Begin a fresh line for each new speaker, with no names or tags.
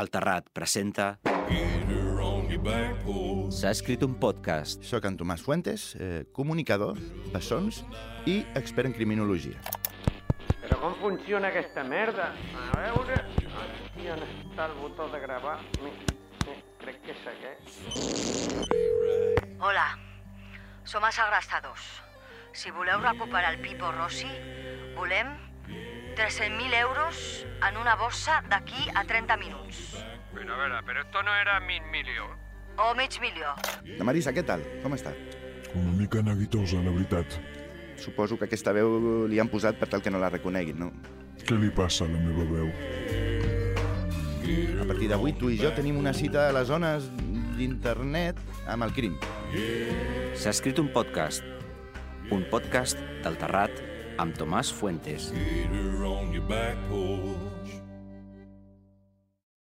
El Terrat presenta... S'ha escrit un podcast.
Soc en Tomàs Fuentes, eh, comunicador, bessons i expert en criminologia.
Però com funciona aquesta merda? A veure... Aquí on està el botó de gravar? Mi, mi, crec que és aquest.
Hola, som a Sagrasta 2. Si voleu recuperar el Pipo Rossi, volem 300.000 euros en una bossa d'aquí a 30 minuts.
Pero a ver, pero esto no era Min Milio.
O mig milió.
La Marisa, què tal? Com està?
Una mica neguitosa, la veritat.
Suposo que aquesta veu li han posat per tal que no la reconeguin, no?
Què li passa a la meva veu?
A partir d'avui tu i jo tenim una cita a les zones d'internet amb el crim.
S'ha escrit un podcast. Un podcast del Terrat amb Tomàs Fuentes.
Gator on your back pole.